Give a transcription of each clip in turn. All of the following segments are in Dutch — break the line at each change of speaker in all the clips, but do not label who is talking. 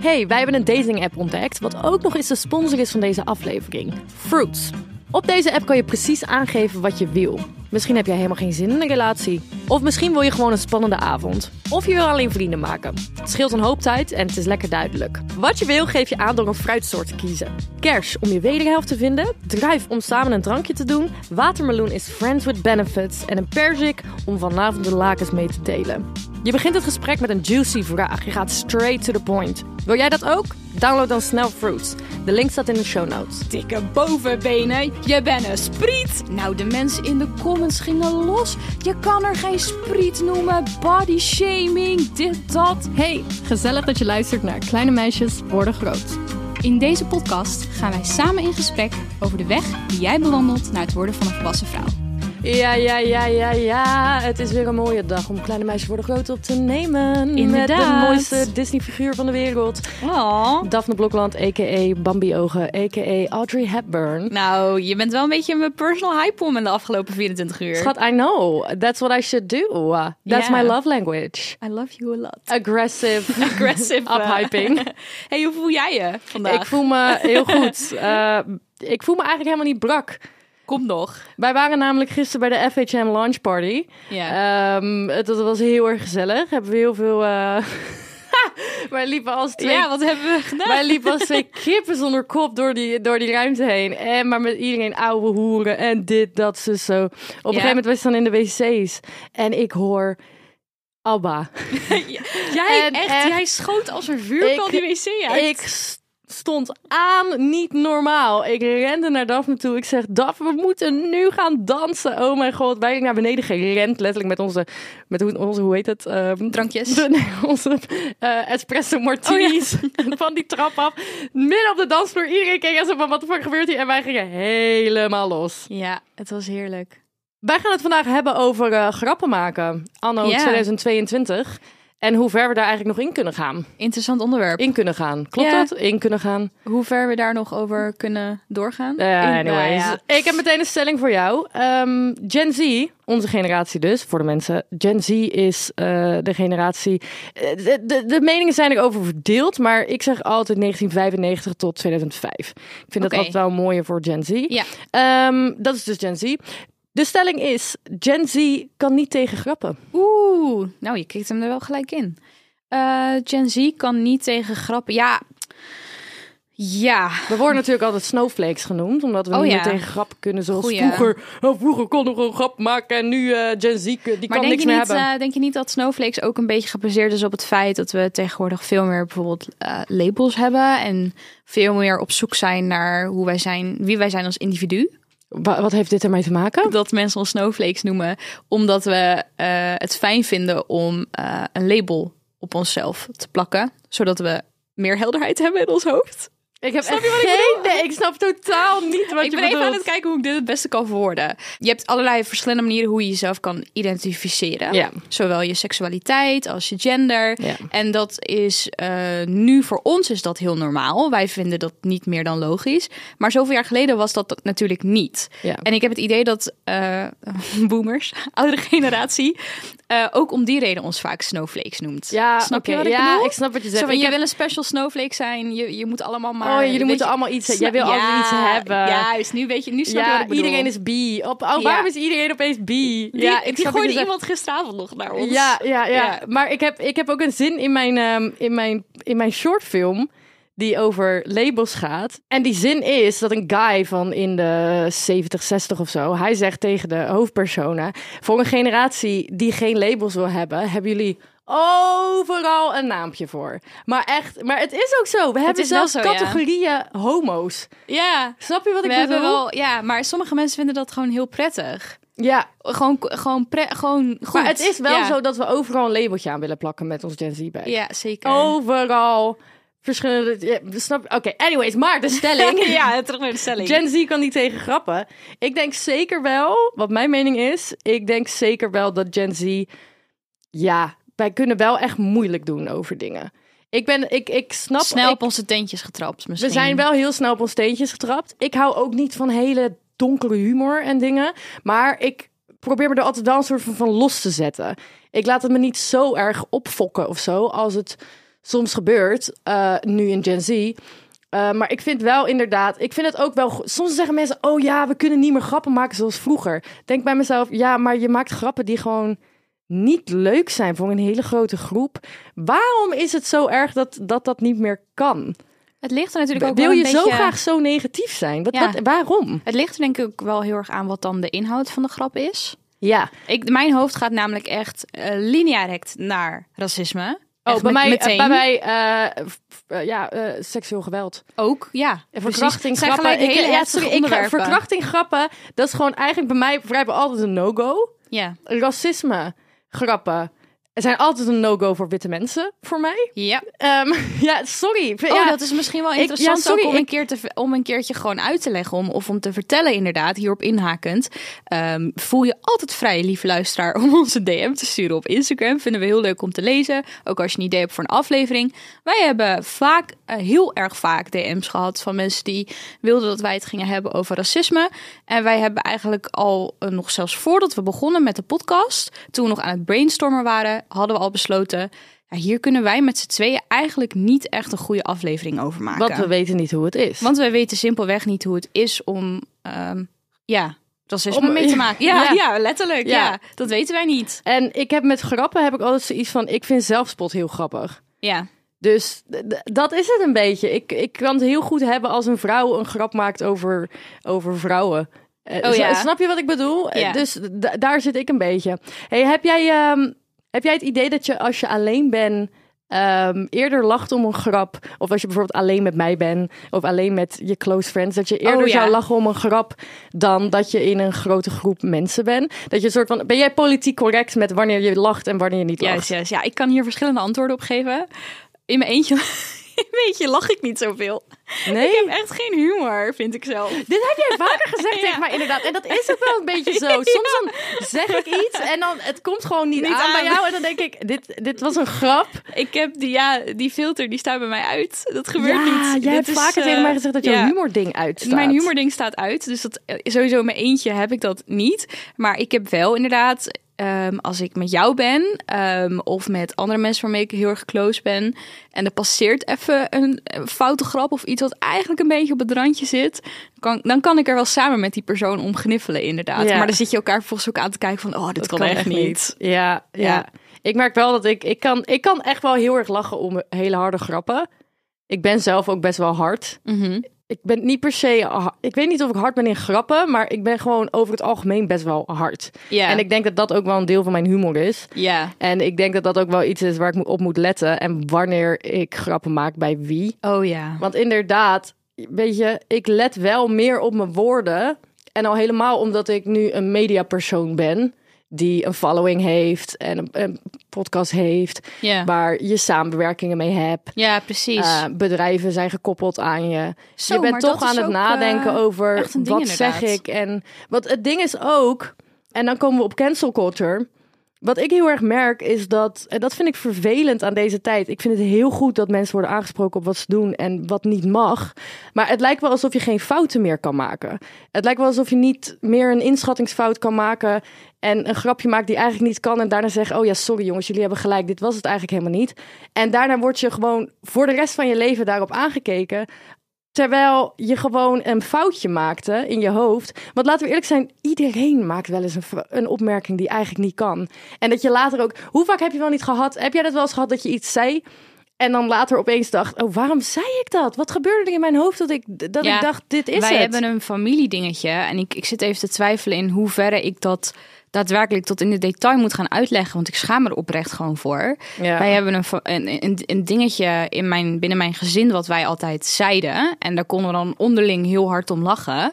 Hey, wij hebben een dating app ontdekt, wat ook nog eens de sponsor is van deze aflevering: Fruits. Op deze app kan je precies aangeven wat je wil. Misschien heb jij helemaal geen zin in een relatie. Of misschien wil je gewoon een spannende avond. Of je wil alleen vrienden maken. Het scheelt een hoop tijd en het is lekker duidelijk. Wat je wil geef je aan door een fruitsoort te kiezen. Kers om je wederhelft te vinden. Druif om samen een drankje te doen. Watermeloen is friends with benefits. En een perzik om vanavond de lakens mee te delen. Je begint het gesprek met een juicy vraag. Je gaat straight to the point. Wil jij dat ook? Download dan snel Fruits. De link staat in de show notes.
Dikke bovenbenen, je bent een spriet. Nou, de mensen in de comments gingen los. Je kan er geen spriet noemen, body shaming, dit, dat.
Hey, gezellig dat je luistert naar Kleine Meisjes Worden Groot.
In deze podcast gaan wij samen in gesprek over de weg die jij bewandelt naar het worden van een volwassen vrouw.
Ja, ja, ja, ja, ja. Het is weer een mooie dag om kleine meisjes voor de grote op te nemen. Met de
Inderdaad.
mooiste Disney-figuur van de wereld.
Oh.
Daphne Blokland, a.k.a. Bambi Ogen, a.k.a. Audrey Hepburn.
Nou, je bent wel een beetje mijn personal hype in de afgelopen 24 uur.
Schat, I know. That's what I should do. That's
Ja.
my love language.
I love you a lot.
Aggressive.
Aggressive. eh.
Uphyping.
hey, hoe voel jij je vandaag?
Ik voel me heel goed. Eh, ik voel me eigenlijk helemaal niet brak.
Kom nog.
Wij waren namelijk gisteren bij de FHM launch party.
Ja.
Ehm, het, dat was heel erg gezellig. Hebben we heel veel. eh, wij liepen als twee.
ja, wat hebben we gedaan?
Wij liepen als twee kippen zonder kop door die, door die ruimte heen. En maar met iedereen ouwe hoeren en dit, dat, zus, zo. Op een gegeven moment was ik dan in de wc's. En ik hoor Abba.
Jij,
En
echt,
echt-
jij schoot als een vuurpijl
Ik-
die wc uit.
Ik s- stond aan, niet normaal. Ik rende naar Daphne toe. Ik zeg, Daf, we moeten nu gaan dansen. Oh mijn god, wij naar beneden gerend. Letterlijk met onze, met hoe- onze hoe heet het? ehm,
Drankjes.
de- nee, onze eh, espresso martinis
Oh,
van die trap af. Midden op de dansvloer. Iedereen keek en zo van, wat de fuck gebeurt hier? En wij gingen helemaal los.
Ja, het was heerlijk.
Wij gaan het vandaag hebben over eh, grappen maken. Anno
Ja.
2022. En hoe ver we daar eigenlijk nog in kunnen gaan.
Interessant onderwerp.
In kunnen gaan. Klopt
Ja.
dat? In kunnen gaan.
Hoe ver we daar nog over kunnen doorgaan?
Eh,
Ik- nou
anyways.
ja.
Ik heb meteen een stelling voor jou. Ehm, Gen Z, onze generatie dus, voor de mensen. Gen Z is eh, de generatie... eh, De, de, de meningen zijn erover verdeeld, maar ik zeg altijd 1995 tot 2005. Ik vind
Oké.
dat altijd wel mooier voor Gen Z.
Ja.
Ehm, dat is dus Gen Z. De stelling is, Gen Z kan niet tegen grappen.
Oeh, nou je kikt hem er wel gelijk in. Eh, Gen Z kan niet tegen grappen. Ja. Ja.
We worden natuurlijk altijd snowflakes genoemd, omdat we
Oh
niet
ja.
meer tegen grappen kunnen zoals
Goeie.
vroeger. Oh, vroeger konden we een grap maken en nu eh, Gen Z, eh, die
Maar
kan
denk
niks
je,
meer
niet,
hebben.
eh, denk je niet dat Snowflakes ook een beetje gebaseerd is op het feit dat we tegenwoordig veel meer bijvoorbeeld eh, labels hebben en veel meer op zoek zijn naar hoe wij zijn, wie wij zijn als individu?
Wa- wat heeft dit ermee te maken?
dat mensen ons snowflakes noemen, omdat we eh, het fijn vinden om eh, een label op onszelf te plakken, zodat we meer helderheid hebben in ons hoofd.
Ik heb echt geen... nee, ik snap totaal niet wat
ik
je
ben even aan het
bedoelt.
kijken hoe ik dit het beste kan verwoorden. Je hebt allerlei verschillende manieren hoe je jezelf kan identificeren.
Ja.
Zowel je seksualiteit als je gender.
Ja.
En dat is eh, nu voor ons is dat heel normaal. Wij vinden dat niet meer dan logisch. Maar zoveel jaar geleden was dat natuurlijk niet.
Ja.
En ik heb het idee dat eh, boomers, oudere generatie, eh, ook om die reden ons vaak snowflakes noemt.
Ja,
snap je
oké.
wat ik
ja,
bedoel?
ik snap wat je
Zo
zegt.
van,
Ik
je
heb-
wil een special snowflake zijn. Je, je moet allemaal maar...
Oh, jullie
weet
moeten
je-
allemaal iets hebben.
Sna-
Jij wil altijd iets hebben.
Juist, nu, weet je, nu snap je wat
ja
ik bedoel.
iedereen is bi. Op, oh, waarom
Ja.
is iedereen opeens bi?
Die,
ja,
ja, ik
snap
die
wat je
gooide
zegt.
iemand gisteravond nog naar ons.
Ja, ja, ja,
Ja.
Maar ik heb, ik heb ook een zin in mijn, ehm, in, mijn, in mijn shortfilm die over labels gaat. En die zin is dat een guy van in de 70, 60 of zo... hij zegt tegen de hoofdpersona... voor een generatie die geen labels wil hebben... hebben jullie overal een naampje voor. Maar echt, maar het is ook zo. We hebben
is wel
zelfs
zo, ja.
categorieën homo's.
ja.
Snap je wat ik
We
bedoel?
hebben wel, ja, maar sommige mensen vinden dat gewoon heel prettig.
Ja,
Gewoon, gewoon, pre, gewoon goed.
maar het is wel
Ja.
zo dat we overal een labeltje aan willen plakken met ons Gen Z-bag.
Ja, zeker.
Overal. verschillende... ja, snap Oké, anyways, maar de stelling...
ja, terug naar de stelling.
Gen Z kan niet tegen grappen. Ik denk zeker wel, wat mijn mening is, ik denk zeker wel dat Gen Z, ja, wij kunnen wel echt moeilijk doen over dingen. Ik ben, ik, ik snap.
Snel
ik-
op onze tentjes getrapt
we
misschien.
zijn wel heel snel op ons steentjes getrapt. Ik hou ook niet van hele donkere humor en dingen. Maar ik probeer me er altijd wel een soort van, van los te zetten. Ik laat het me niet zo erg opfokken of zo. Als het soms gebeurt, eh, nu in Gen Z. Eh, maar ik vind wel inderdaad, ik vind het ook wel. go- Soms zeggen mensen: Oh ja, we kunnen niet meer grappen maken zoals vroeger. Ik Denk bij mezelf: Ja, maar je maakt grappen die gewoon niet leuk zijn voor een hele grote groep. Waarom is het zo erg dat dat, dat niet meer kan?
Het ligt er natuurlijk ook
Wil
wel
je
een
zo
beetje-
graag zo negatief zijn? Wat,
Ja.
wat- waarom?
Het ligt er denk ik ook wel heel erg aan wat dan de inhoud van de grap is.
Ja.
Ik, mijn hoofd gaat namelijk echt eh, linea rect naar racisme.
Oh,
Echt
bij
met-
mij,
meteen.
bij mij eh, f- f- eh, ja, eh, seksueel geweld.
ook, ja.
En
precies.
verkrachting
Het zijn
grappen.
gelijk hele
ja,
heftige
sorry, ik ga,
onderwerpen.
verkrachting grappen, dat is gewoon eigenlijk bij mij vrijwel altijd een no-go.
Ja,
Racisme grappen zijn altijd een no-go voor witte mensen, voor mij.
ja.
Ehm, ja, sorry. Ik vind-
Oh,
ja,
dat is misschien wel
ja,
interessant
sorry,
ook om, een
ik-
keer te, om een keertje gewoon uit te leggen. Om, of om te vertellen inderdaad, hierop inhakend. Ehm, voel je altijd vrij, lieve luisteraar, om onze DM te sturen op Instagram. Vinden we heel leuk om te lezen. Ook als je een idee hebt voor een aflevering. Wij hebben vaak, eh, heel erg vaak DM's gehad van mensen die wilden dat wij het gingen hebben over racisme. En wij hebben eigenlijk al, eh, nog zelfs voordat we begonnen met de podcast, toen we nog aan het brainstormen waren, hadden we al besloten... Ja, hier kunnen wij met z'n tweeën eigenlijk niet echt een goede aflevering over maken.
Want we weten niet hoe het is.
Want wij weten simpelweg niet hoe het is om ehm, ja, racisme
Om-
mee te maken. Ja,
Ja.
ja. letterlijk.
Ja.
Ja. dat weten wij niet.
En ik heb met grappen heb ik altijd zoiets van, ik vind zelfspot heel grappig.
Ja,
Dus d- d- dat is het een beetje. Ik, ik kan het heel goed hebben als een vrouw een grap maakt over, over vrouwen. Eh,
Oh
s-
ja.
Snap je wat ik bedoel? Eh,
Ja.
Dus d- daar zit ik een beetje. Hey, heb, jij, ehm, heb jij het idee dat je als je alleen bent ehm, eerder lacht om een grap? Of als je bijvoorbeeld alleen met mij bent of alleen met je close friends, dat je eerder
Oh ja.
zou lachen om een grap dan dat je in een grote groep mensen bent? Dat je een soort van. Ben jij politiek correct met wanneer je lacht en wanneer je niet lacht?
juist, juist. Ja, ik kan hier verschillende antwoorden op geven. In mijn eentje, in mijn eentje lach ik niet zoveel.
Nee.
Ik heb echt geen humor, vind ik zelf.
Dit heb jij vaker gezegd
Ja.
tegen mij, inderdaad. En dat is ook wel een beetje zo. Soms dan zeg ik iets en dan het komt gewoon niet,
Niet
aan, bij
aan.
jou. En dan denk ik, dit, dit was een grap.
Ik heb die, ja, die filter, die staat bij mij uit. Dat gebeurt niet.
jij
Dit
hebt
is,
vaker
eh,
tegen mij gezegd dat jouw
ja.
humording uitstaat.
Dus Mijn humording staat uit, dus dat, eh, sowieso in mijn eentje heb ik dat niet. Maar ik heb wel inderdaad, ehm, als ik met jou ben ehm, of met andere mensen waarmee ik heel erg close ben... en er passeert even een eh, foute grap of iets wat eigenlijk een beetje op het randje zit... kan, dan kan ik er wel samen met die persoon om gniffelen inderdaad.
Ja.
Maar dan zit je elkaar vervolgens ook aan te kijken van, oh, dit kan, echt niet.
Ja, ja,
Ja.
Ik merk wel dat ik, ik kan, ik kan echt wel heel erg lachen om hele harde grappen. Ik ben zelf ook best wel hard.
Mhm.
Ik ben niet per se, ha- ik weet niet of ik hard ben in grappen, maar ik ben gewoon over het algemeen best wel hard.
Ja.
En ik denk dat dat ook wel een deel van mijn humor is.
Ja.
En ik denk dat dat ook wel iets is waar ik mo- op moet letten. En wanneer ik grappen maak bij wie.
Oh ja.
Want inderdaad, weet je, ik let wel meer op mijn woorden. En al helemaal omdat ik nu een mediapersoon ben. Die een following heeft en een, een podcast heeft.
Ja.
Waar je samenwerkingen mee hebt.
Ja, precies.
Eh, bedrijven zijn gekoppeld aan je.
Zo,
je bent
maar
toch
dat is
aan het
ook,
nadenken
eh,
over
echt een ding
wat
inderdaad.
zeg ik. En wat het ding is ook, en dan komen we op cancel culture. Wat ik heel erg merk is dat, en dat vind ik vervelend aan deze tijd. Ik vind het heel goed dat mensen worden aangesproken op wat ze doen en wat niet mag. Maar het lijkt wel alsof je geen fouten meer kan maken. Het lijkt wel alsof je niet meer een inschattingsfout kan maken. En een grapje maakt die eigenlijk niet kan. En daarna zeggen: Oh ja, sorry jongens, jullie hebben gelijk. Dit was het eigenlijk helemaal niet. En daarna word je gewoon voor de rest van je leven daarop aangekeken. Terwijl je gewoon een foutje maakte in je hoofd. Want laten we eerlijk zijn, iedereen maakt wel eens een, v- een opmerking die eigenlijk niet kan. En dat je later ook. Hoe vaak heb je wel niet gehad? Heb jij dat wel eens gehad dat je iets zei? En dan later opeens dacht: Oh, waarom zei ik dat? Wat gebeurde er in mijn hoofd dat ik, dat
Ja,
ik dacht: Dit is
Wij
het?
hebben een familiedingetje en ik, ik zit even te twijfelen in hoeverre ik dat daadwerkelijk tot in de detail moet gaan uitleggen, want ik schaam me er oprecht gewoon voor.
Ja.
Wij hebben een, fa- een, een, een dingetje in mijn, binnen mijn gezin wat wij altijd zeiden en daar konden we dan onderling heel hard om lachen.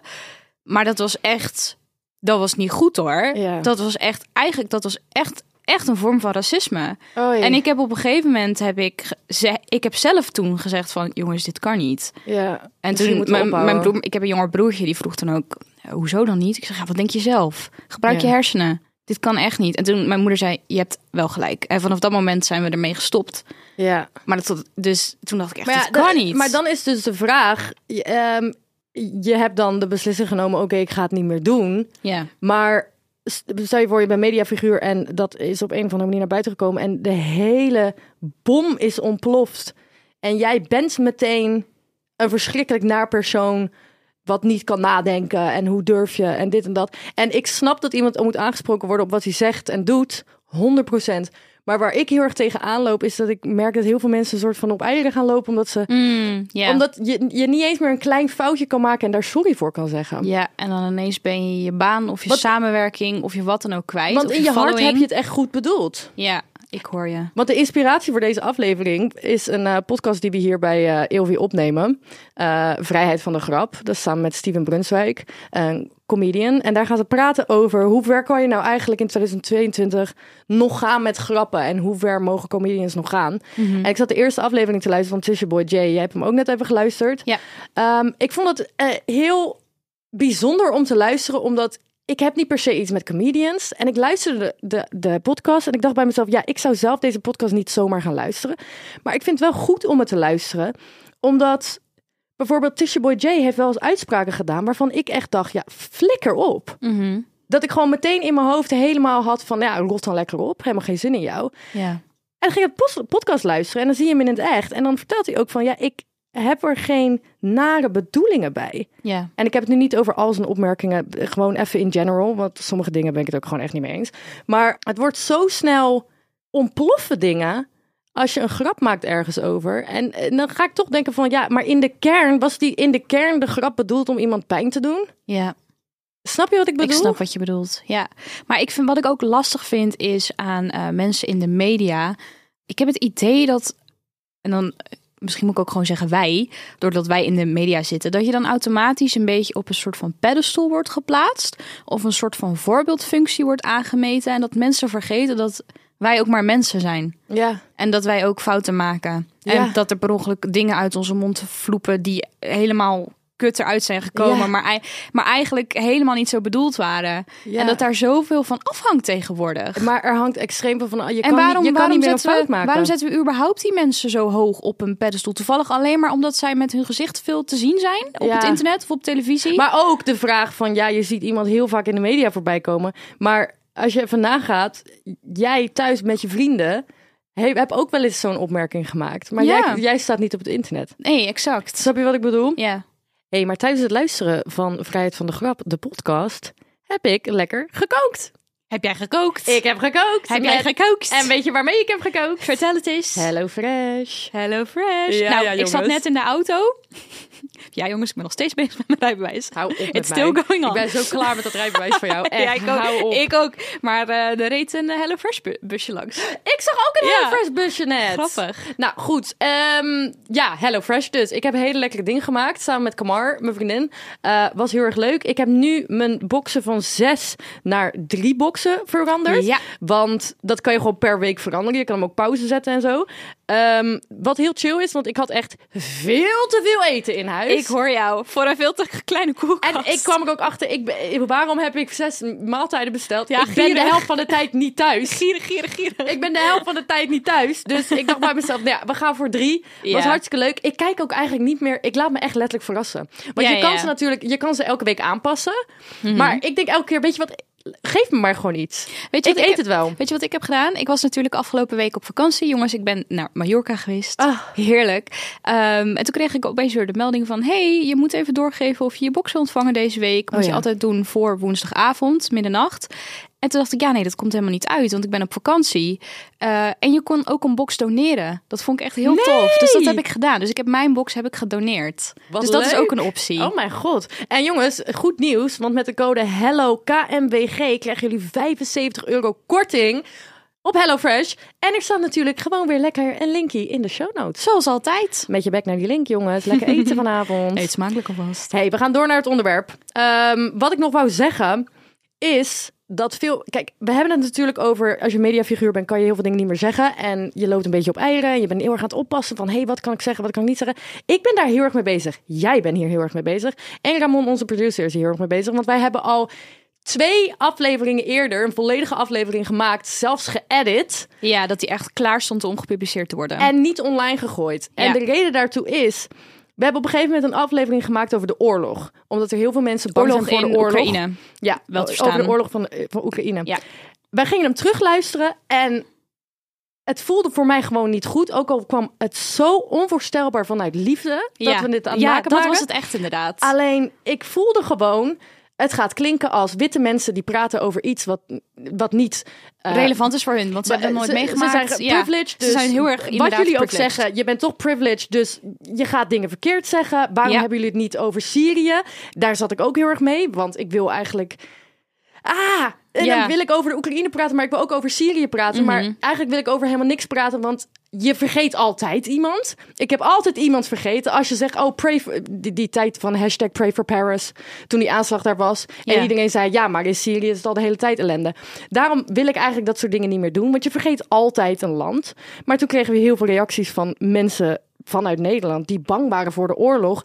Maar dat was echt, dat was niet goed hoor.
Ja.
Dat was echt, eigenlijk, dat was echt echt een vorm van racisme.
Oh,
En ik heb op een gegeven moment heb ik, ge- ze- ik heb zelf toen gezegd van jongens, dit kan niet.
ja.
En
Misschien
toen
moeten we
mijn, mijn
ophouden.
broer, ik heb een jonger broertje, die vroeg dan ook, "Eh, hoezo dan niet? Ik zeg, ja, wat denk je zelf? Gebruik
Ja.
je hersenen. Dit kan echt niet. En toen mijn moeder zei, je hebt wel gelijk. En vanaf dat moment zijn we ermee gestopt.
Ja.
Maar dat, tot- dus toen dacht ik echt, dit
ja,
kan
dat-
niet.
Maar dan is dus de vraag: je, ehm, je hebt dan de beslissing genomen, oké, ik ga het niet meer doen.
ja.
Maar s- stel je voor, je bent mediafiguur en dat is op een of andere manier naar buiten gekomen en de hele bom is ontploft. En jij bent meteen een verschrikkelijk naar persoon wat niet kan nadenken en hoe durf je en dit en dat. En ik snap dat iemand moet aangesproken worden op wat hij zegt en doet, 100%. Maar waar ik heel erg tegen aanloop is dat ik merk dat heel veel mensen een soort van op eieren gaan lopen omdat ze
Mm, ja.
omdat je, je niet eens meer een klein foutje kan maken en daar sorry voor kan zeggen.
ja, en dan ineens ben je je baan of je
Wat-
samenwerking of je wat dan ook kwijt.
Want
of
in je hart
following.
heb je het echt goed bedoeld.
Ja, ik hoor je.
Want de inspiratie voor deze aflevering is een eh, podcast die we hier bij eh Eeuwie opnemen. Eh, Vrijheid van de Grap. Dat is samen met Steven Brunswijk, een comedian. En daar gaat het praten over hoe ver kan je nou eigenlijk in 2022 nog gaan met grappen. En hoe ver mogen comedians nog gaan. En ik zat de eerste aflevering te luisteren van Tisha Boy J. Jij hebt hem ook net even geluisterd.
Ja.
Ehm, ik vond het eh, heel bijzonder om te luisteren, omdat ik heb niet per se iets met comedians. En ik luisterde de, de, de podcast en ik dacht bij mezelf, ja, ik zou zelf deze podcast niet zomaar gaan luisteren. Maar ik vind het wel goed om het te luisteren, omdat bijvoorbeeld Tisha Boy J heeft wel eens uitspraken gedaan waarvan ik echt dacht, ja, flikker op. Dat ik gewoon meteen in mijn hoofd helemaal had van, ja, rot dan lekker op, helemaal geen zin in jou.
Ja.
En dan ging ik het pos- podcast luisteren en dan zie je hem in het echt. En dan vertelt hij ook van, ja, ik heb er geen nare bedoelingen bij.
Ja.
En ik heb het nu niet over al zijn opmerkingen, eh, gewoon even in general, want sommige dingen ben ik het ook gewoon echt niet mee eens. Maar het wordt zo snel ontploffen dingen als je een grap maakt ergens over. En, eh, dan ga ik toch denken van ja, maar in de kern was die in de kern de grap bedoeld om iemand pijn te doen?
Ja.
Snap je wat ik bedoel?
Ik snap wat je bedoelt. Ja. Maar ik vind wat ik ook lastig vind is aan eh, mensen in de media. Ik heb het idee dat en dan eh, misschien moet ik ook gewoon zeggen wij, doordat wij in de media zitten, dat je dan automatisch een beetje op een soort van pedestal wordt geplaatst of een soort van voorbeeldfunctie wordt aangemeten en dat mensen vergeten dat wij ook maar mensen zijn.
Ja,
En dat wij ook fouten maken.
Ja.
En dat er per ongeluk dingen uit onze mond vloepen die helemaal kut eruit zijn gekomen,
Ja.
maar, ei- maar eigenlijk helemaal niet zo bedoeld waren.
ja.
En dat daar zoveel van afhangt tegenwoordig.
Maar er hangt extreem veel van. oh, Je
en
kan,
waarom,
niet, je kan
waarom,
niet meer een
zetten
fout
we,
maken.
waarom zetten we überhaupt die mensen zo hoog op een pedestal? Toevallig alleen maar omdat zij met hun gezicht veel te zien zijn op
Ja.
het internet of op televisie.
Maar ook de vraag van, ja, je ziet iemand heel vaak in de media voorbij komen. Maar als je even nagaat, jij thuis met je vrienden... Heb, heb ook wel eens zo'n opmerking gemaakt. Maar
Ja.
jij, jij staat niet op het internet.
nee, exact.
Snap je wat ik bedoel?
Ja.
Hé, hey, maar tijdens het luisteren van Vrijheid van de Grap, de podcast... heb ik lekker gekookt.
Heb jij gekookt?
Ik heb gekookt.
heb jij
Met-
gekookt?
En weet je waarmee ik heb gekookt?
Vertel het eens.
Hello Fresh.
Hello Fresh.
Ja,
nou,
ja,
ik zat
jongens.
net in de auto. ja, jongens, ik ben nog steeds bezig met mijn rijbewijs.
Hou op met
It's
mij.
still going on.
Ik ben zo klaar met dat rijbewijs van jou. Echt,
ja, ik ook.
hou op.
Ik ook. Maar eh, er reed een Hello Fresh bu- busje langs.
Ik zag ook een
Ja.
HelloFresh busje net.
Grappig.
Nou goed, Ehm ja, HelloFresh dus. Ik heb hele lekkere dingen gemaakt samen met Kamar, mijn vriendin. Eh, was heel erg leuk. Ik heb nu mijn boxen van zes naar drie boxen veranderd.
Ja.
Want dat kan je gewoon per week veranderen. Je kan hem ook pauze zetten en zo. Ehm, wat heel chill is, want ik had echt veel te veel eten in huis.
Ik hoor jou. Voor een veel te kleine koelkast.
En ik kwam er ook achter, ik, ben- waarom heb ik zes maaltijden besteld?
Ja,
ik ben de
gierig.
helft van de tijd niet thuis.
Gierig, gierig, gierig.
Ik ben de helft van de tijd niet thuis. Dus ik dacht bij mezelf, nou ja, we gaan voor drie. Was
Ja.
hartstikke leuk. Ik kijk ook eigenlijk niet meer. Ik laat me echt letterlijk verrassen. Want
Ja,
je kan
ja. Mhm.
ze natuurlijk, je kan ze elke week aanpassen. Maar ik denk elke keer, weet je wat, geef me maar gewoon iets.
Weet je
ik eet
wat ik heb-
het wel.
Weet je wat ik heb gedaan? Ik was natuurlijk afgelopen week op vakantie. Jongens, ik ben naar Mallorca geweest.
Ah.
Heerlijk. Ehm, en toen kreeg ik opeens weer de melding van... hey, je moet even doorgeven of je je box wil ontvangen deze week. Moet
Oh ja.
je altijd doen voor woensdagavond, middernacht. En toen dacht ik, ja nee, dat komt helemaal niet uit. Want ik ben op vakantie. Eh, en je kon ook een box doneren. Dat vond ik echt heel tof. Dus dat heb ik gedaan. Dus ik heb mijn box heb ik gedoneerd.
Wat
dus dat is
leuk.
ook een optie.
Oh mijn god. En jongens, goed nieuws. Want met de code HELLOKMWG krijgen jullie 75 euro korting op HelloFresh. En er staat natuurlijk gewoon weer lekker een linkje in de show notes.
Zoals altijd.
Met je bek naar die link, jongens. Lekker eten vanavond.
Eet smakelijk alvast.
Hey, we gaan door naar het onderwerp. Ehm, wat ik nog wou zeggen is dat veel. Kijk, we hebben het natuurlijk over. Als je mediafiguur bent, kan je heel veel dingen niet meer zeggen. En je loopt een beetje op eieren. En je bent heel erg aan het oppassen van. hé, hey, wat kan ik zeggen, wat kan ik niet zeggen. Ik ben daar heel erg mee bezig. Jij bent hier heel erg mee bezig. En Ramon, onze producer, is hier heel erg mee bezig. Want wij hebben al twee afleveringen eerder. een volledige aflevering gemaakt. Zelfs geëdit.
Ja, dat die echt klaar stond om gepubliceerd te worden.
En niet online gegooid. En
Ja.
de reden daartoe is. We hebben op een gegeven moment een aflevering gemaakt over de oorlog. Omdat er heel veel mensen bang
oorlog
zijn voor
in
de oorlog.
Oekraïne.
Ja,
Wel te
over de
verstaan.
oorlog van, eh, van Oekraïne.
Ja.
Wij gingen hem terugluisteren en het voelde voor mij gewoon niet goed. Ook al kwam het zo onvoorstelbaar vanuit liefde dat
Ja.
we dit aan het
ja,
maken
dat
waren.
was het echt inderdaad.
Alleen, ik voelde gewoon, het gaat klinken als witte mensen die praten over iets wat, wat niet... eh,
Relevant is voor hun, want ze hebben nooit
ze-
meegemaakt.
Ze zijn
ja.
privileged, dus
ze zijn heel erg
Wat
inderdaad
jullie ook
privileged.
zeggen, je bent toch privileged, dus je gaat dingen verkeerd zeggen. Waarom
Ja.
hebben jullie het niet over Syrië? Daar zat ik ook heel erg mee, want ik wil eigenlijk... Ah, en
Ja.
dan wil ik over de Oekraïne praten, maar ik wil ook over Syrië praten. Maar eigenlijk wil ik over helemaal niks praten, want je vergeet altijd iemand. Ik heb altijd iemand vergeten. Als je zegt, oh, pray for, die, die tijd van hashtag pray for Paris, toen die aanslag daar was. En
Ja.
iedereen zei, ja, maar in Syrië is het al de hele tijd ellende. Daarom wil ik eigenlijk dat soort dingen niet meer doen, want je vergeet altijd een land. Maar toen kregen we heel veel reacties van mensen vanuit Nederland die bang waren voor de oorlog.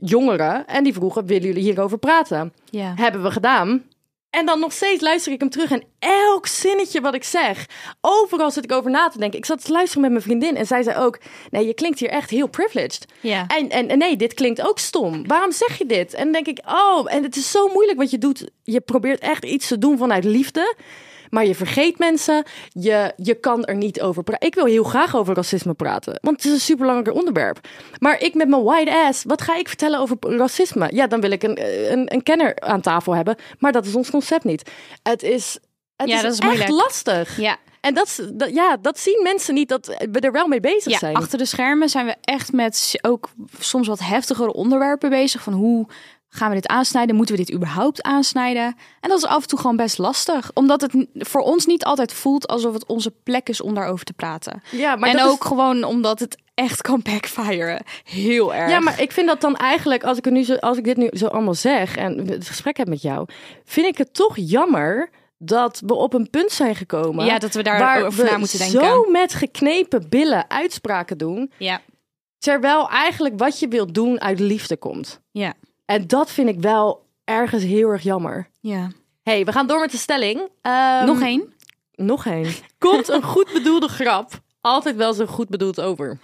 Jongeren, en die vroegen, willen jullie hierover praten?
Ja.
Hebben we gedaan. En dan nog steeds luister ik hem terug en elk zinnetje wat ik zeg, overal zit ik over na te denken. Ik zat te luisteren met mijn vriendin en zij zei ook, nee, je klinkt hier echt heel privileged.
Ja.
En, en, en nee, dit klinkt ook stom. Waarom zeg je dit? En dan denk ik, oh, en het is zo moeilijk wat je doet. Je probeert echt iets te doen vanuit liefde. Maar je vergeet mensen. Je, je kan er niet over praten. Ik wil heel graag over racisme praten. Want het is een superbelangrijk onderwerp. Maar ik met mijn wide ass, wat ga ik vertellen over racisme? Ja, dan wil ik een, eh, een, een kenner aan tafel hebben. Maar dat is ons concept niet. Het is, het
Ja,
is,
dat is
echt
moeilijk.
lastig.
ja.
En dat, is- dat, ja, dat zien mensen niet, dat we er wel mee bezig
Ja,
zijn.
achter de schermen zijn we echt met ook soms wat heftigere onderwerpen bezig. Van hoe gaan we dit aansnijden? Moeten we dit überhaupt aansnijden? En dat is af en toe gewoon best lastig. Omdat het n- voor ons niet altijd voelt alsof het onze plek is om daarover te praten.
ja, maar
en
dat is-
ook gewoon omdat het echt kan backfiren. Heel erg.
Ja, maar ik vind dat dan eigenlijk, als ik, het nu zo, als ik dit nu zo allemaal zeg en het gesprek heb met jou, vind ik het toch jammer dat we op een punt zijn gekomen.
Ja, dat we daar
waar
over
we
na moeten denken.
Zo met geknepen billen uitspraken doen,
ja.
terwijl eigenlijk wat je wilt doen uit liefde komt.
Ja.
En dat vind ik wel ergens heel erg jammer.
ja.
hey, we gaan door met de stelling. Ehm,
Nog één?
Nog één. Komt een goed bedoelde grap altijd wel zo goed bedoeld over?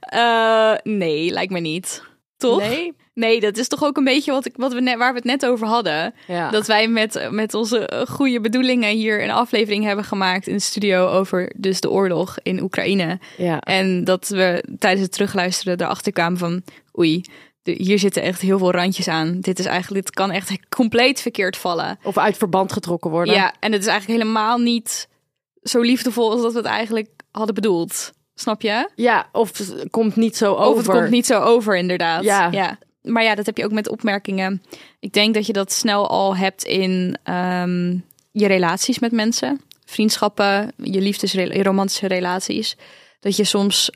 Eh, nee, lijkt me niet. Toch?
Nee?
Nee, dat is toch ook een beetje wat ik, wat we net, waar we het net over hadden.
Ja.
Dat wij met, met onze eh, goede bedoelingen hier een aflevering hebben gemaakt in de studio over dus de oorlog in Oekraïne.
ja.
En dat we tijdens het terugluisteren erachter kwamen van oei, de- hier zitten echt heel veel randjes aan. Dit, is eigenlijk, dit kan echt compleet verkeerd vallen.
Of uit verband getrokken worden.
Ja, en het is eigenlijk helemaal niet zo liefdevol als dat we het eigenlijk hadden bedoeld. Snap je?
Ja, of het komt niet zo over.
Of het komt niet zo over, inderdaad.
Ja.
Maar ja, dat heb je ook met opmerkingen. Ik denk dat je dat snel al hebt in ehm, je relaties met mensen. Vriendschappen, je liefdesrela- je romantische relaties. Dat je soms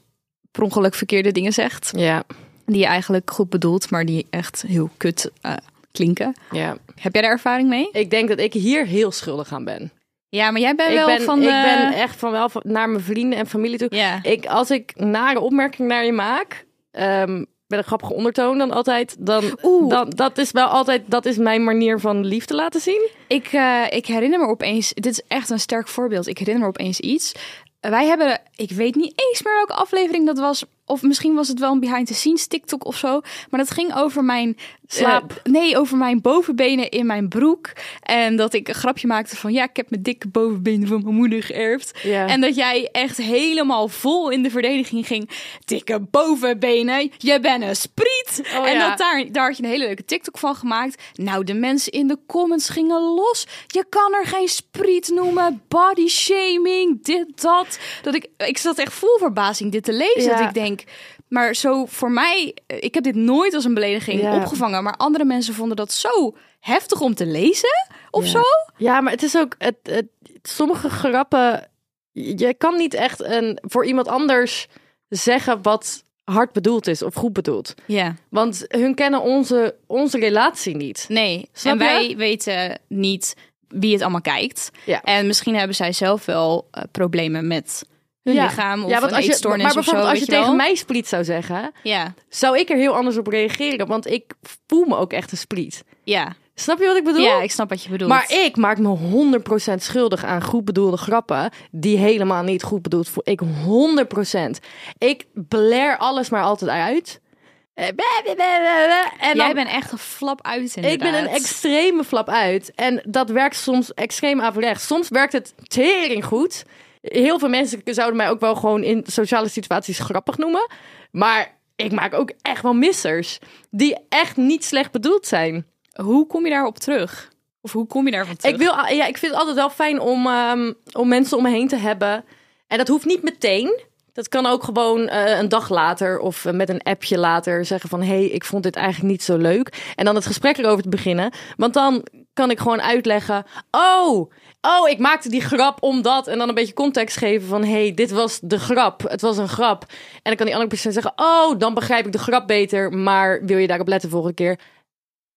per ongeluk verkeerde dingen zegt.
Ja,
Die je eigenlijk goed bedoelt, maar die echt heel kut eh, klinken.
ja.
Heb jij daar ervaring mee?
Ik denk dat ik hier heel schuldig aan ben.
Ja, maar jij bent
Ik
wel
ben,
van...
ik
eh,
ben echt van wel van- naar mijn vrienden en familie toe.
Ja.
Ik, als ik nare opmerking naar je maak, ehm, met een grappige ondertoon dan altijd, dan, dan dat is wel altijd, dat is mijn manier van liefde laten zien.
Ik, eh, ik herinner me opeens, dit is echt een sterk voorbeeld. Ik herinner me opeens iets. Wij hebben, ik weet niet eens meer welke aflevering dat was. Of misschien was het wel een behind the scenes TikTok of zo. Maar dat ging over mijn eh,
Slaap.
nee, over mijn bovenbenen in mijn broek. En dat ik een grapje maakte van ja, ik heb mijn dikke bovenbenen van mijn moeder geërfd.
Ja.
En dat jij echt helemaal vol in de verdediging ging. Dikke bovenbenen, je bent een spriet.
Oh,
en
ja.
dat daar, daar had je een hele leuke TikTok van gemaakt. Nou, de mensen in de comments gingen los. Je kan er geen spriet noemen. Body shaming, dit, dat. dat ik, ik zat echt vol verbazing dit te lezen.
Ja.
Dat ik denk, maar zo voor mij, eh, ik heb dit nooit als een belediging
Ja.
opgevangen. Maar andere mensen vonden dat zo heftig om te lezen of zo.
Ja, maar het is ook, het, het, sommige grappen, je kan niet echt een, voor iemand anders zeggen wat hard bedoeld is of goed bedoeld.
Ja,
Want hun kennen onze, onze relatie niet.
nee.
Snap
en
je?
wij weten niet wie het allemaal kijkt.
Ja.
En misschien hebben zij zelf wel eh, problemen met hun lichaam of een
als je,
eetstoornis
Maar
of zo.
bijvoorbeeld als je,
weet
tegen
wel.
mij split zou zeggen,
Ja,
zou ik er heel anders op reageren. Want ik voel me ook echt een split.
ja.
Snap je wat ik bedoel?
ja, ik snap wat je eh, bedoelt.
Maar ik maak me 100% schuldig aan goed bedoelde grappen. Die helemaal niet goed bedoeld voel ik 100%. Ik blair alles maar altijd uit. Eh, blah, blah, blah, blah, blah. En
Jij
dan-
bent echt een flap uit
ik ben
inderdaad.
een extreme flap uit. En dat werkt soms extreem averechts. Soms werkt het tering goed. Heel veel mensen zouden mij ook wel gewoon in sociale situaties grappig noemen. Maar ik maak ook echt wel missers. Die echt niet slecht bedoeld zijn.
Hoe kom je daarop terug? Of hoe kom je daarvan terug?
Ik, wil, al- ja, ik vind het altijd wel fijn om, ehm, om mensen om me heen te hebben. En dat hoeft niet meteen. Dat kan ook gewoon eh, een dag later of eh, met een appje later zeggen van... hé, hey, ik vond dit eigenlijk niet zo leuk. En dan het gesprek erover te beginnen. Want dan kan ik gewoon uitleggen... oh, oh, ik maakte die grap omdat... en dan een beetje context geven van... hé, hey, dit was de grap, het was een grap. En dan kan die andere persoon zeggen... oh, dan begrijp ik de grap beter... maar wil je daarop letten volgende keer?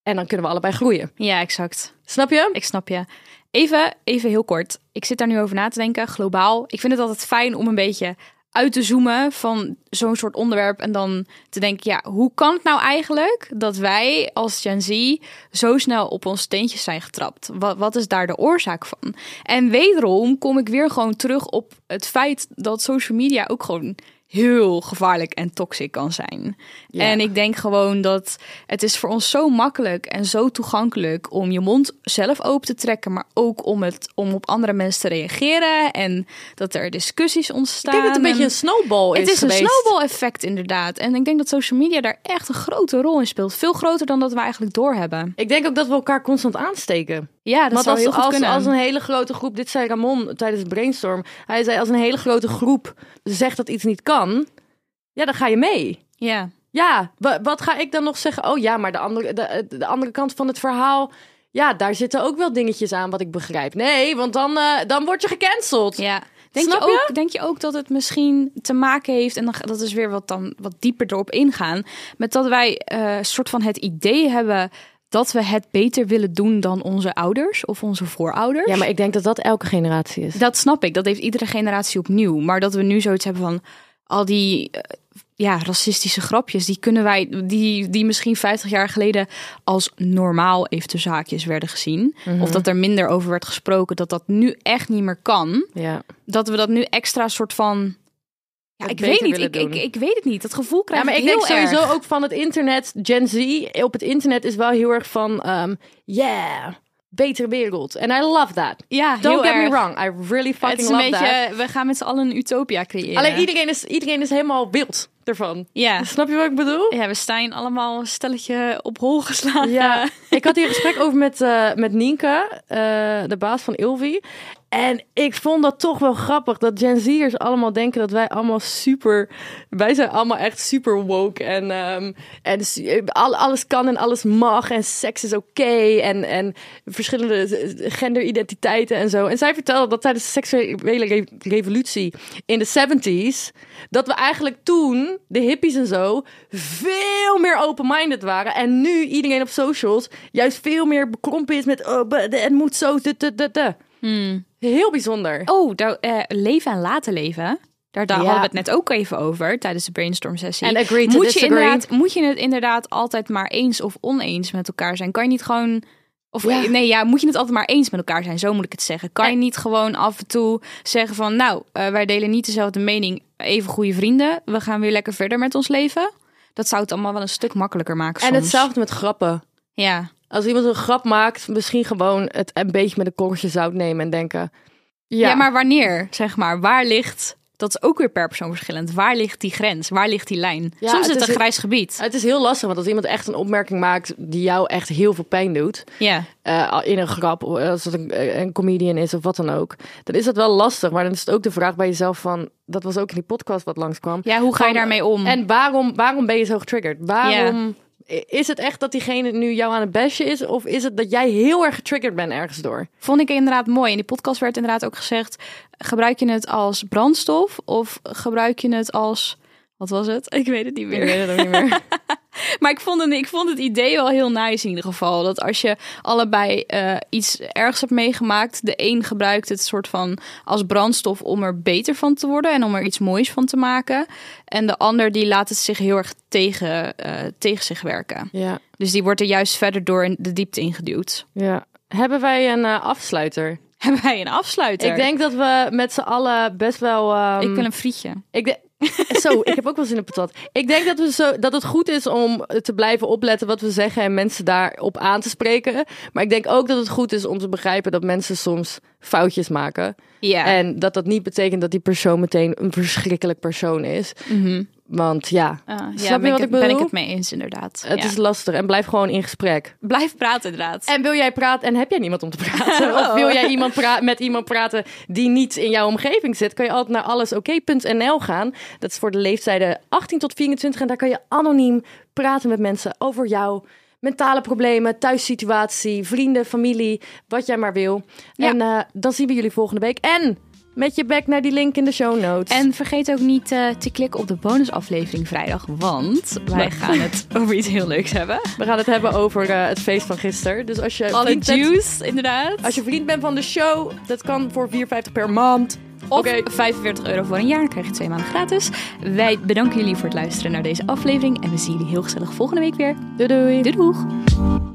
En dan kunnen we allebei groeien.
Ja, exact.
Snap je?
Ik snap je. Even, even heel kort. Ik zit daar nu over na te denken, globaal. Ik vind het altijd fijn om een beetje uit te zoomen van zo'n soort onderwerp. En dan te denken, ja, hoe kan het nou eigenlijk dat wij als Gen Z zo snel op ons steentjes zijn getrapt? Wat, wat is daar de oorzaak van? En wederom kom ik weer gewoon terug op het feit dat social media ook gewoon heel gevaarlijk en toxic kan zijn. En ik denk gewoon dat het is voor ons zo makkelijk en zo toegankelijk om je mond zelf open te trekken, maar ook om, het, om op andere mensen te reageren en dat er discussies ontstaan.
Ik denk dat het een beetje
En-
een snowball is
het is
geweest.
een snowball effect inderdaad. En ik denk dat social media daar echt een grote rol in speelt. Veel groter dan dat we eigenlijk doorhebben.
Ik denk ook dat we elkaar constant aansteken.
Ja, dat
Want
zou
als,
heel goed
als,
kunnen.
als een hele grote groep, dit zei Ramon tijdens het brainstorm. Hij zei, als een hele grote groep zegt dat iets niet kan, ja, dan ga je mee.
Ja.
Ja, wa- wat ga ik dan nog zeggen? Oh ja, maar de andere, de, de andere kant van het verhaal, ja, daar zitten ook wel dingetjes aan wat ik begrijp. Nee, want dan, eh, dan word je gecanceld.
Ja. Denk je,
Snap
ook, denk je ook dat het misschien te maken heeft, en dan, ga- dat is weer wat, dan, wat dieper erop ingaan, met dat wij eh soort van het idee hebben dat we het beter willen doen dan onze ouders of onze voorouders?
Ja, maar ik denk dat dat elke generatie is.
Dat snap ik, dat heeft iedere generatie opnieuw. Maar dat we nu zoiets hebben van al die eh, ja, racistische grapjes, die kunnen wij, die, die misschien 50 jaar geleden als normaal even tussen haakjes werden gezien.
Mhm.
Of dat er minder over werd gesproken, dat dat nu echt niet meer kan
Ja.
dat we dat nu extra soort van. Ja,
Het
ik
beter
weet niet. Ik,
willen
ik,
doen.
ik weet het niet. Dat gevoel krijg
Ja, maar ik
heel
denk sowieso
erg.
ook van het internet. Gen Z op het internet is wel heel erg van, ehm yeah, betere wereld. En I love that.
Ja,
Don't
heel
get me
erg.
wrong, I really fucking
Het is een
love
beetje.
that.
We gaan met z'n allen een utopia creëren.
Alleen iedereen is, iedereen is helemaal wild ervan.
Ja.
Snap je wat ik bedoel?
ja, we zijn allemaal een stelletje op hol geslagen.
Ja, ik had hier een gesprek over met, eh, met Nienke, eh, de baas van Ilvi. En ik vond dat toch wel grappig dat Gen Z'ers allemaal denken dat wij allemaal super... Wij zijn allemaal echt super woke en, ehm, en su- al- alles kan en alles mag en seks is oké en, en verschillende z- genderidentiteiten en zo. En zij vertelde dat tijdens de seksuele re- revolutie in de 70s, dat we eigenlijk toen, de hippies en zo, veel meer open-minded waren. En nu iedereen op socials juist veel meer bekrompen is met, oh, but het moet zo, de, de, de, de. Heel bijzonder.
Hmm. Oh, daar, eh, leven en laten leven. Daar, daar
Ja.
hadden we het net ook even over tijdens de brainstorm sessie.
And agree to
moet, je
disagree.
inderdaad, moet je het inderdaad altijd maar eens of oneens met elkaar zijn? Kan je niet gewoon. Of
Ja.
nee, ja, moet je het altijd maar eens met elkaar zijn? Zo moet ik het zeggen. Kan je niet gewoon af en toe zeggen van, nou, eh, wij delen niet dezelfde mening, even goede vrienden, we gaan weer lekker verder met ons leven? Dat zou het allemaal wel een stuk makkelijker maken.
En
soms.
hetzelfde met grappen.
Ja,
Als iemand een grap maakt, misschien gewoon het een beetje met een korreltje zout nemen en denken... Ja,
Ja. maar wanneer, zeg maar, waar ligt, dat is ook weer per persoon verschillend, waar ligt die grens, waar ligt die lijn?
Ja,
Soms is
het
het
is
een
heel-
grijs gebied.
Het is heel lastig, want als iemand echt een opmerking maakt die jou echt heel veel pijn doet...
Ja,
eh, in een grap, als het een, eh, een comedian is of wat dan ook, dan is dat wel lastig. Maar dan is het ook de vraag bij jezelf van, dat was ook in die podcast wat langskwam.
ja hoe ga je
Van,
daarmee om?
En waarom, waarom ben je zo getriggerd? Waarom is het echt dat diegene nu jou aan het bashen is, of is het dat jij heel erg getriggerd bent ergens door?
Vond ik inderdaad mooi. In die podcast werd inderdaad ook gezegd: gebruik je het als brandstof of gebruik je het als. Wat was het? Ik weet het niet meer.
het ook niet meer.
Maar ik vond, het, ik vond het idee wel heel nice in ieder geval. Dat als je allebei eh, iets ergs hebt meegemaakt, de een gebruikt het soort van als brandstof om er beter van te worden en om er iets moois van te maken. En de ander die laat het zich heel erg tegen, eh, tegen zich werken.
Ja,
Dus die wordt er juist verder door in de diepte ingeduwd.
ja. Hebben wij een eh, afsluiter?
Hebben wij een afsluiter?
Ik denk dat we met z'n allen best wel... ehm,
ik wil een frietje.
Ik de- zo, ik heb ook wel zin in patat. Ik denk dat, we zo, dat het goed is om te blijven opletten wat we zeggen en mensen daarop aan te spreken. Maar ik denk ook dat het goed is om te begrijpen dat mensen soms foutjes maken.
Ja.
En dat dat niet betekent dat die persoon meteen een verschrikkelijk persoon is.
Mhm.
Want ja,
Ah, ja,
Snap je
ben ik
wat
het-
ik
Ben ik
bedoel?
het mee eens, inderdaad.
het
Ja.
is lastig en blijf gewoon in gesprek.
Blijf praten, inderdaad.
En wil jij praten en heb jij niemand om te praten? Of wil jij iemand pra- met iemand praten die niet in jouw omgeving zit? Kan je altijd naar allesoké.nl gaan. Dat is voor de leeftijden 18 tot 24. En daar kan je anoniem praten met mensen over jouw mentale problemen, thuissituatie, vrienden, familie, wat jij maar wil.
Ja.
En eh, dan zien we jullie volgende week. En met je bek naar die link in de show notes.
En vergeet ook niet eh, te klikken op de bonusaflevering vrijdag, want wij gaan het over iets heel leuks hebben.
we gaan het hebben over eh, het feest van gisteren. Dus als je,
Alle
vriend bent,
juice, inderdaad.
als je vriend bent van de show, dat kan voor 4,50 per maand.
Of
Oké.
45 euro voor een jaar, krijg je twee maanden gratis. Wij bedanken jullie voor het luisteren naar deze aflevering en we zien jullie heel gezellig volgende week weer.
Doei doei.
Doei doeg!